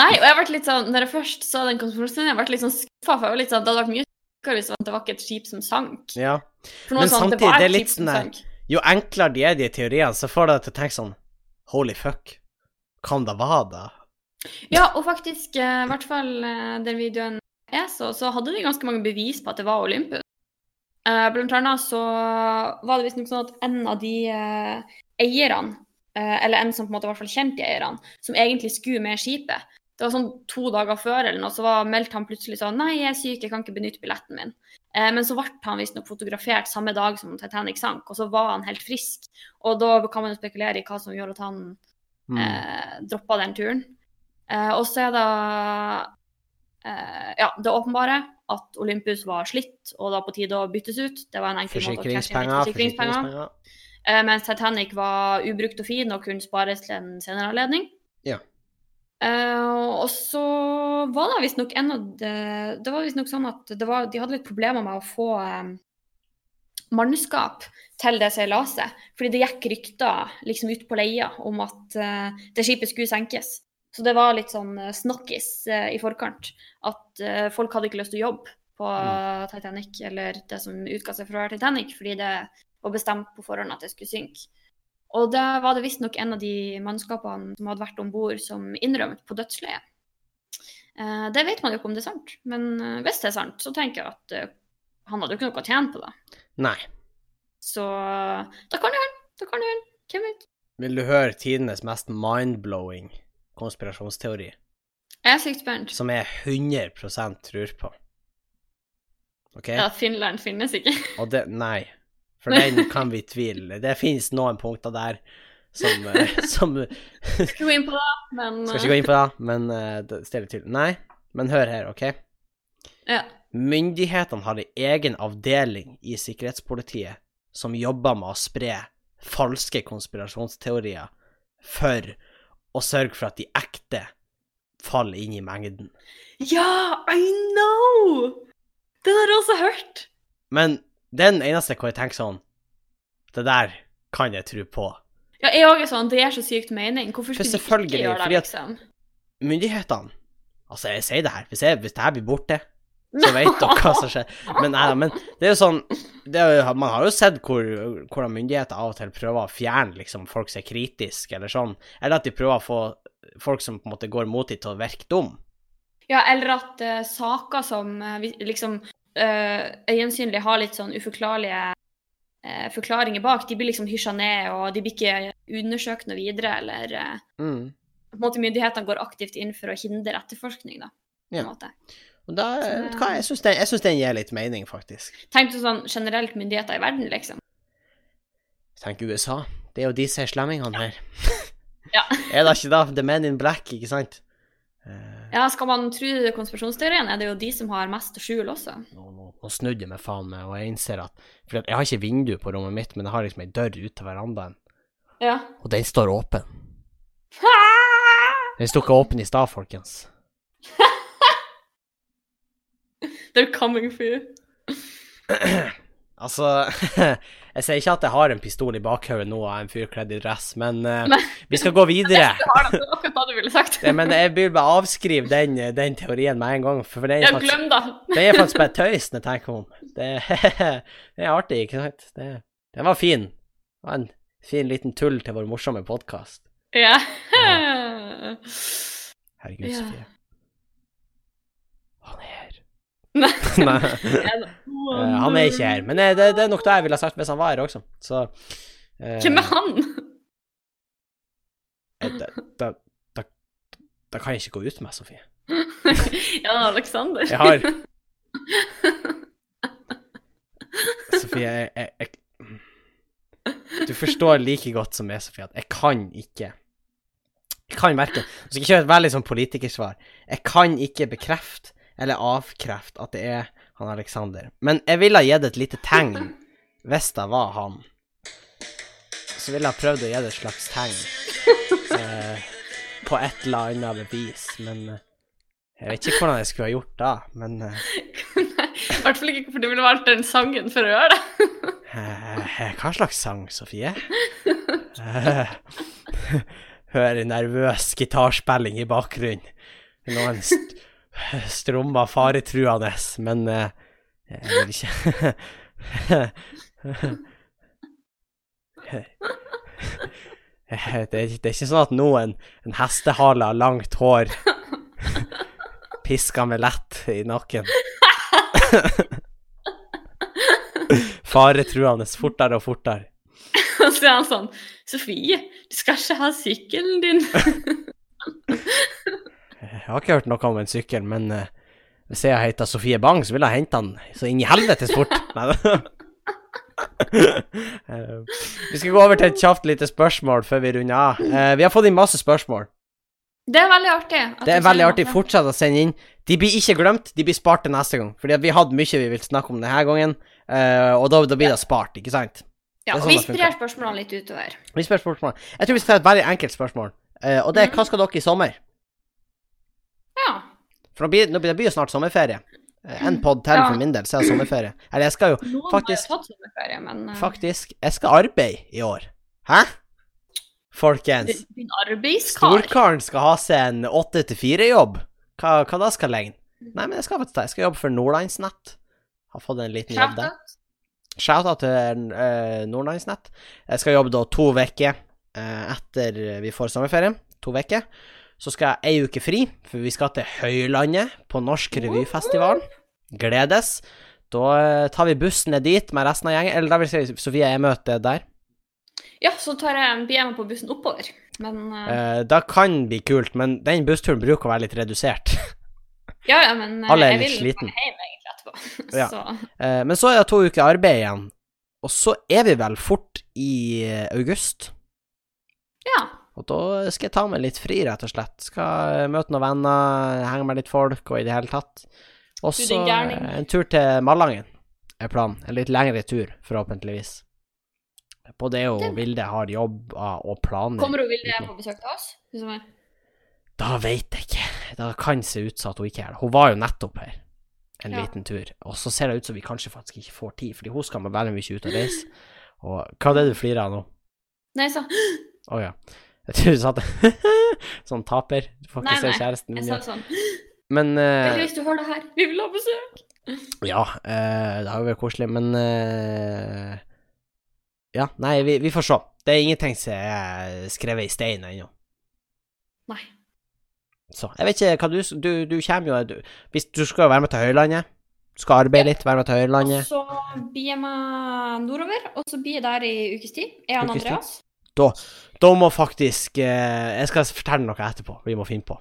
Nei, og jeg ble litt sånn Når jeg først så den konspirasjonen, jeg ble litt sånn skuffa. For jeg var litt sånn, det hadde vært mye sikrere hvis det var- det var ikke et skip som sank.
Ja.
For nå
Men
er det sånn,
samtidig,
var
det er
et
litt
skip som
sånn her-
sank.
Jo enklere de er, de teoriene, så får deg til å tenke sånn Holy fuck. Kan det være det?
Ja, og faktisk, eh, i hvert fall eh, den videoen jeg så, så hadde de ganske mange bevis på at det var Olympus. Eh, blant annet så var det visstnok sånn at en av de eh, eierne, eh, eller en som på en måte var i hvert fall kjent i eierne, som egentlig skulle med skipet Det var sånn to dager før eller noe, så var, meldte han plutselig sånn Nei, jeg er syk, jeg kan ikke benytte billetten min. Eh, men så ble han visstnok fotografert samme dag som Titanic sank, og så var han helt frisk. Og da kan man jo spekulere i hva som gjorde at han
Mm.
eh, droppa den turen. Eh, og så er det eh, ja, det åpenbare at Olympus var slitt og da på tide å byttes ut. Det var en enkel måte å cashe inn litt
Forsikringspenger,
forsikringspenger.
forsikringspenger.
Eh, mens Titanic var ubrukt og fin og kunne spares til en senere anledning.
Ja.
Eh, og så var det visstnok en av de, Det var visstnok sånn at det var, de hadde litt problemer med å få eh, mannskap til det seilaset. Fordi det gikk rykter liksom ut på leia om at eh, det skipet skulle senkes. Så det var litt sånn eh, snakkis eh, i forkant. At eh, folk hadde ikke lyst til å jobbe på eh, Titanic, eller det som utga seg for å være Titanic, fordi det var bestemt på forhånd at det skulle synke. Og det var det visstnok en av de mannskapene som hadde vært om bord, som innrømmet på dødsleiet. Eh, det vet man jo ikke om det er sant, men eh, hvis det er sant, så tenker jeg at eh, han hadde jo ikke noe å tjene på det.
Nei.
Så da kan jo han, da kan jo han. Hvem vet?
Vil du høre tidenes mest mind-blowing konspirasjonsteori,
Jeg er sykt spent.
som jeg 100 tror på? OK?
Ja, Finland finnes ikke.
Og det Nei. For den kan vi tvile. Det finnes noen punkter der som, eh, som
Skal gå inn på det, men
Skal ikke gå inn på det, men eh, det stiller til. Nei, men hør her, OK?
Ja.
Myndighetene har en egen avdeling i sikkerhetspolitiet som jobber med å spre falske konspirasjonsteorier for å sørge for at de ekte faller inn i mengden.
Ja, I know! Den har jeg også hørt.
Men det er den eneste hvor jeg tenker sånn Det der kan jeg tro på.
Ja, jeg òg er sånn, det gir så sykt mening. Hvorfor
For
skulle de
selvfølgelig,
ikke gjøre
fordi
det,
at-
liksom?
Myndighetene Altså, jeg sier det her. Hvis, jeg, hvis det her blir borte, så vet dere hva som skjer. Men, nei, da, men det er jo sånn det er jo, Man har jo sett hvor, hvordan myndigheter av og til prøver å fjerne liksom, folk som er kritiske, eller sånn. Eller at de prøver å få folk som på en måte går mot dem, til å virke dum.
Ja, eller at eh, saker som eh, vi- liksom eh, øyensynlig har litt sånn uforklarlige eh, forklaringer bak, de blir liksom hysja ned, og de blir ikke undersøkt noe videre, eller eh, på en måte myndighetene går aktivt inn for å hindre etterforskning, da. på en
Ja.
måte.
Og da, vet du hva, jeg syns den, jeg synes den gir litt mening, faktisk.
Tenk du sånn generelt myndigheter i verden, liksom.
Tenk USA. Det er jo de som er slemmingene her.
Ja.
er det ikke da? The Men in Black, ikke sant? Eh,
Ja, skal man tro konspirasjonsteorien, er det jo de som har mest å skjule også.
nå, nå, nå snudde jeg meg faen meg, og jeg innser at For jeg har ikke vindu på rommet mitt, men jeg har liksom ei dør ut til verandaen,
Ja.
og den står åpen. Den sto ikke åpen i stad, folkens.
They're coming for you.
Altså, jeg sier ikke at jeg har en pistol i bakhodet nå av en fyr kledd i dress, men eh,
Nei.
vi skal gå videre.
Du har det, det er akkurat hva du ville sagt.
Det- Men jeg vil bare avskrive den, eh, den teorien med en gang, for den
Ja,
er faktisk,
glem det.
den er faktisk bare tøys når jeg tenker om. Det, det er artig, ikke sant? Det, den var fin. Det var en fin liten tull til vår morsomme podkast.
Ja.
Herregud,
Ja.
Sofie. Han er her.
Nei.
Nei. Eh, han er ikke her, men eh, det, det er nok det jeg ville ha sagt hvis han var her også. Så eh,
Hvem er han?
eh, Da, da, da, da kan jeg ikke gå ut med Sofie.
Ja, Alexander.
Jeg har Sofie, jeg, jeg, jeg Du forstår like godt som meg, Sofie, at jeg kan ikke Jeg kan verken Nå skal jeg ikke gjøre et veldig sånn politikersvar. Jeg kan ikke bekrefte eller avkrefte at det er han Aleksander. Men jeg ville ha gitt et lite tegn hvis det var han. Så ville jeg prøvd å gi det et slags tegn eh, på et eller annet bevis, men eh, jeg vet ikke hvordan jeg skulle ha gjort det, men eh,
Nei, I hvert fall ikke hvorfor du ville valgt den sangen for å gjøre det.
Eh, Hva slags sang, Sofie? Eh, Hører nervøs gitarspilling i bakgrunnen. Noen st strommer faretruende, men eh, jeg vil ikke Eh, det, er, det er ikke sånn at noen en hestehale av langt hår pisker meg lett i nakken. Faretruende fortere og fortere.
Og så er han sånn Sofie, du skal ikke ha sykkelen din.
Jeg har ikke hørt noe om en sykkel, men eh, hvis jeg heter Sofie Bang, så vil jeg hente han så inn i helvetes fort. Nei da. Eh, vi skal gå over til et kjapt lite spørsmål før vi runder av. Eh, vi har fått inn masse spørsmål.
Det er veldig artig. at
Det er
du sier
veldig artig.
det.
Fortsett å sende inn. De blir ikke glemt, de blir spart til neste gang. Fordi at vi hadde mye vi ville snakke om denne gangen, eh, og da, da blir det spart, ikke sant?
Ja,
Det er sånn
vi
det funker.
sprer spørsmålene litt utover.
Vi spør spørsmål. Jeg tror vi skal ta et veldig enkelt spørsmål, eh, og det er hva skal dere i sommer?
Ja.
For nå blir, nå blir det blir jo snart sommerferie. Eh, En pod til
Ja.
for min del, så er det sommerferie. Eller jeg skal jo
Noen
Faktisk-
har jo tatt sommerferie, men eh,
Faktisk, jeg skal arbeide i år. Hæ? Folkens,
du- din arbeidskar
storkaren skal ha seg en 8-4-jobb. Hva, hva da skal legge? Nei, men jeg skal faktisk det. Jeg skal jobbe for Nordlandsnett. Har fått en liten jobb der.
Shout-out.
Shout-out til eh, Nordlandsnett. Jeg skal jobbe da to uker eh, etter vi får sommerferie. To uker. så skal jeg ei uke fri, for vi skal til Høylandet på Norsk revyfestival. Gledes. Da eh, tar vi bussen ned dit med resten av gjengen. Eller da vil si Sofie jeg møter der.
Ja, så tar jeg en BM på bussen oppover. Men eh,
Eh, da kan bli kult, men den bussturen bruker å være litt redusert.
Ja, ja, men eh,
alle er
jeg
litt
vil
sliten.
hjem egentlig etterpå.
Ja.
Så
Eh, men så er det to uker arbeid igjen, og så er vi vel fort i eh, august.
ja.
Og da skal jeg ta meg litt fri, rett og slett. Skal eh, møte noen venner, henge med litt folk, og i det hele tatt. Og
Du,
så
din gærning.
eh, en tur til Malangen er planen. En litt lengre tur, forhåpentligvis. På det jo
Det-
Vilde har jobber og planer.
Kommer hun Vilde på besøk til oss? Hun som er-
Da veit jeg ikke. Da kan se ut som at hun ikke er det. Hun var jo nettopp her en
Ja.
liten tur, og så ser det ut som vi kanskje faktisk ikke får tid, fordi hun skal med veldig mye ut og reise. Og hva er det du flirer av nå?
Nei, så
Å ja. Jeg tror du sa det. sånn taper. Du får ikke
Nei, nei.
se kjæresten
jeg
min.
sa
ja.
det sånn
Men eh,
Hvis du hører det her, vi vil ha besøk!
Ja, eh, det har jo vært koselig, men eh, Ja, nei, vi, vi får se. Det er ingenting som er skrevet i stein ennå.
Nei.
Så jeg vet ikke hva du Du, du kommer jo du, Hvis du skal jo være med til Høylandet, du skal arbeide litt, være med til
Og
Høylandet,
så blir jeg meg nordover, og så blir jeg der i ukes tid. Jeg og
Ukes tid.
Andreas.
da må faktisk eh, Jeg skal fortelle noe etterpå vi må finne på.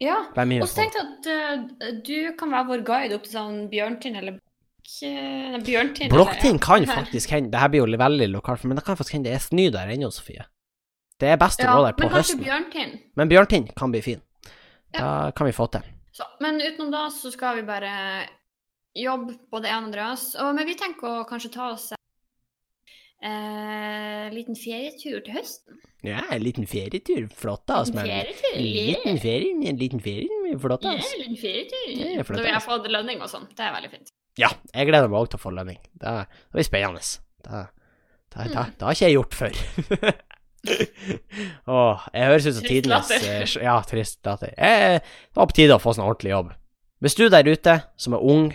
Ja.
Hvem
Og
er vi
så
på?
tenkte jeg at eh, du kan være vår guide opp til sånn Bjørntind eller Blokk- eh, nei, Bjørntind. eller-
Blokkting kan
Her.
faktisk hende Det her blir jo veldig lokalt, men det kan faktisk hende det er snø der ennå, Sofie. Det er best å
Ja,
gå der på
men kanskje
høsten.
Bjørntind.
Men Bjørntind kan bli fin.
Ja.
Da kan vi få til.
Så, men utenom da så skal vi bare jobbe både jeg og Andreas. Og, men vi tenker å kanskje ta oss en eh, liten ferietur til høsten.
Ja, en liten ferietur. Flott, da, altså.
En
men-
ferietur?
En
Yeah.
liten ferie, en liten ferie. men Flott,
Ja,
altså.
en liten ferietur.
Ja, flott,
Da vil jeg
altså.
få lønning og sånn. Det er veldig fint.
Ja, jeg gleder meg òg til å få lønning. Det det blir spennende. Det, det, det,
Mm.
det har ikke jeg gjort før. Åh, jeg høres ut som
Trist
tidenes
latter.
eh, sj- Ja, trist latter. Eh, det var på tide å få sånn ordentlig jobb. Hvis du der ute, som er ung,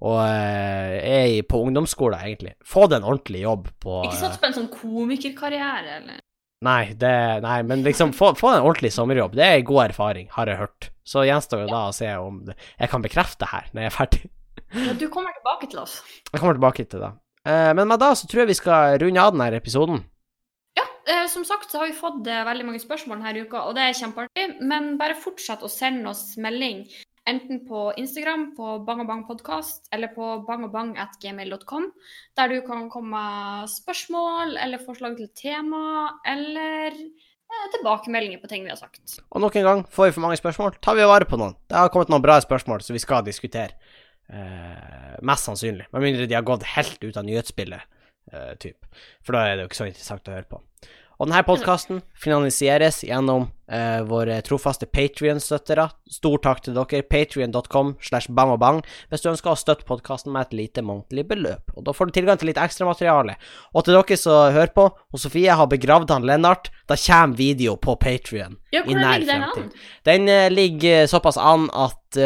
og eh, er i- på ungdomsskolen, egentlig, få deg en ordentlig jobb på
Ikke sats på en sånn komikerkarriere, eller
Nei, det, nei, men liksom, få, få en ordentlig sommerjobb. Det er god erfaring, har jeg hørt. Så gjenstår jo da å se om det, jeg kan bekrefte her når jeg er ferdig.
ja, Du kommer tilbake til oss.
Jeg kommer tilbake til det. Eh, men med da så tror jeg vi skal runde av denne episoden.
Eh, som sagt så har vi fått eh, veldig mange spørsmål denne uka, og det er kjempeartig. Men bare fortsett å sende oss melding, enten på Instagram, på bangabangpodkast, eller på bangabang.gmail.com, der du kan komme med spørsmål eller forslag til tema, eller eh, tilbakemeldinger på ting vi har sagt.
Og nok en gang, får vi for mange spørsmål, tar vi vare på noen. Det har kommet noen bra spørsmål som vi skal diskutere. Eh, mest sannsynlig. Med mindre de har gått helt ut av nyhetsbildet, eh, typ. For da er det jo ikke så interessant å høre på. Og denne podkasten finansieres gjennom eh, våre trofaste Patrion-støttere. Stor takk til dere. Patrion.com slash bangobang hvis du ønsker å støtte podkasten med et lite månedlig beløp. Og da får du tilgang til litt ekstramateriale. Og til dere som hører på, og Sofie har begravd han Lennart, da kommer video på Patrion.
Ja,
I
hvordan
nær
ligger den
fremtid.
an?
Den eh, ligger såpass an at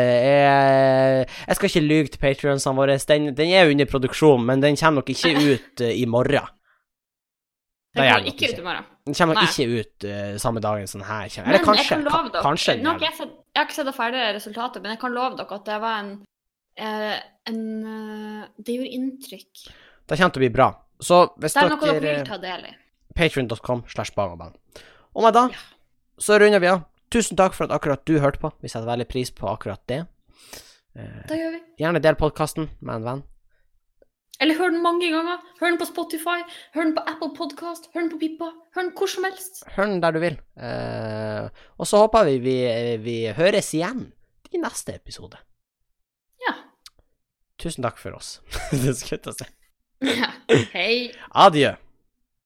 eh, jeg, jeg skal ikke lyge til patrionsene våre. Den, den er under produksjon, men den kommer nok ikke ut eh, i morgen. Det
Den
gjør
går
den nok
ikke
ikke.
ut i morgen.
Den kommer nok
Nei.
ikke ut eh, samme dagen som den her kommer. Eller
Men jeg
kanskje.
kan love
ka-
dere-
kanskje den
Nå har
gjør
ikke
det.
jeg, sett, jeg har ikke sett det ferdige resultatet, men jeg kan love dere at det var en, eh, en eh, Det gjorde inntrykk.
Det kommer til å bli bra. Så hvis
Det er noe dere
dere
vil ta del i.
Patrion.com slash bangabang. Og med da
Ja.
så runder vi av. Tusen takk for at akkurat du hørte på. Vi setter veldig pris på akkurat det. Eh,
Da gjør vi.
gjerne del podkasten med en venn.
Eller hør den mange ganger. Hør den på Spotify, hør den på Apple Podcast, hør den på Pippa, hør den hvor som helst.
Hør den der du vil. Eh, og så håper vi, vi vi høres igjen i neste episode.
Ja.
Tusen takk for oss. det skulle jeg til å si.
Hei.
Adjø.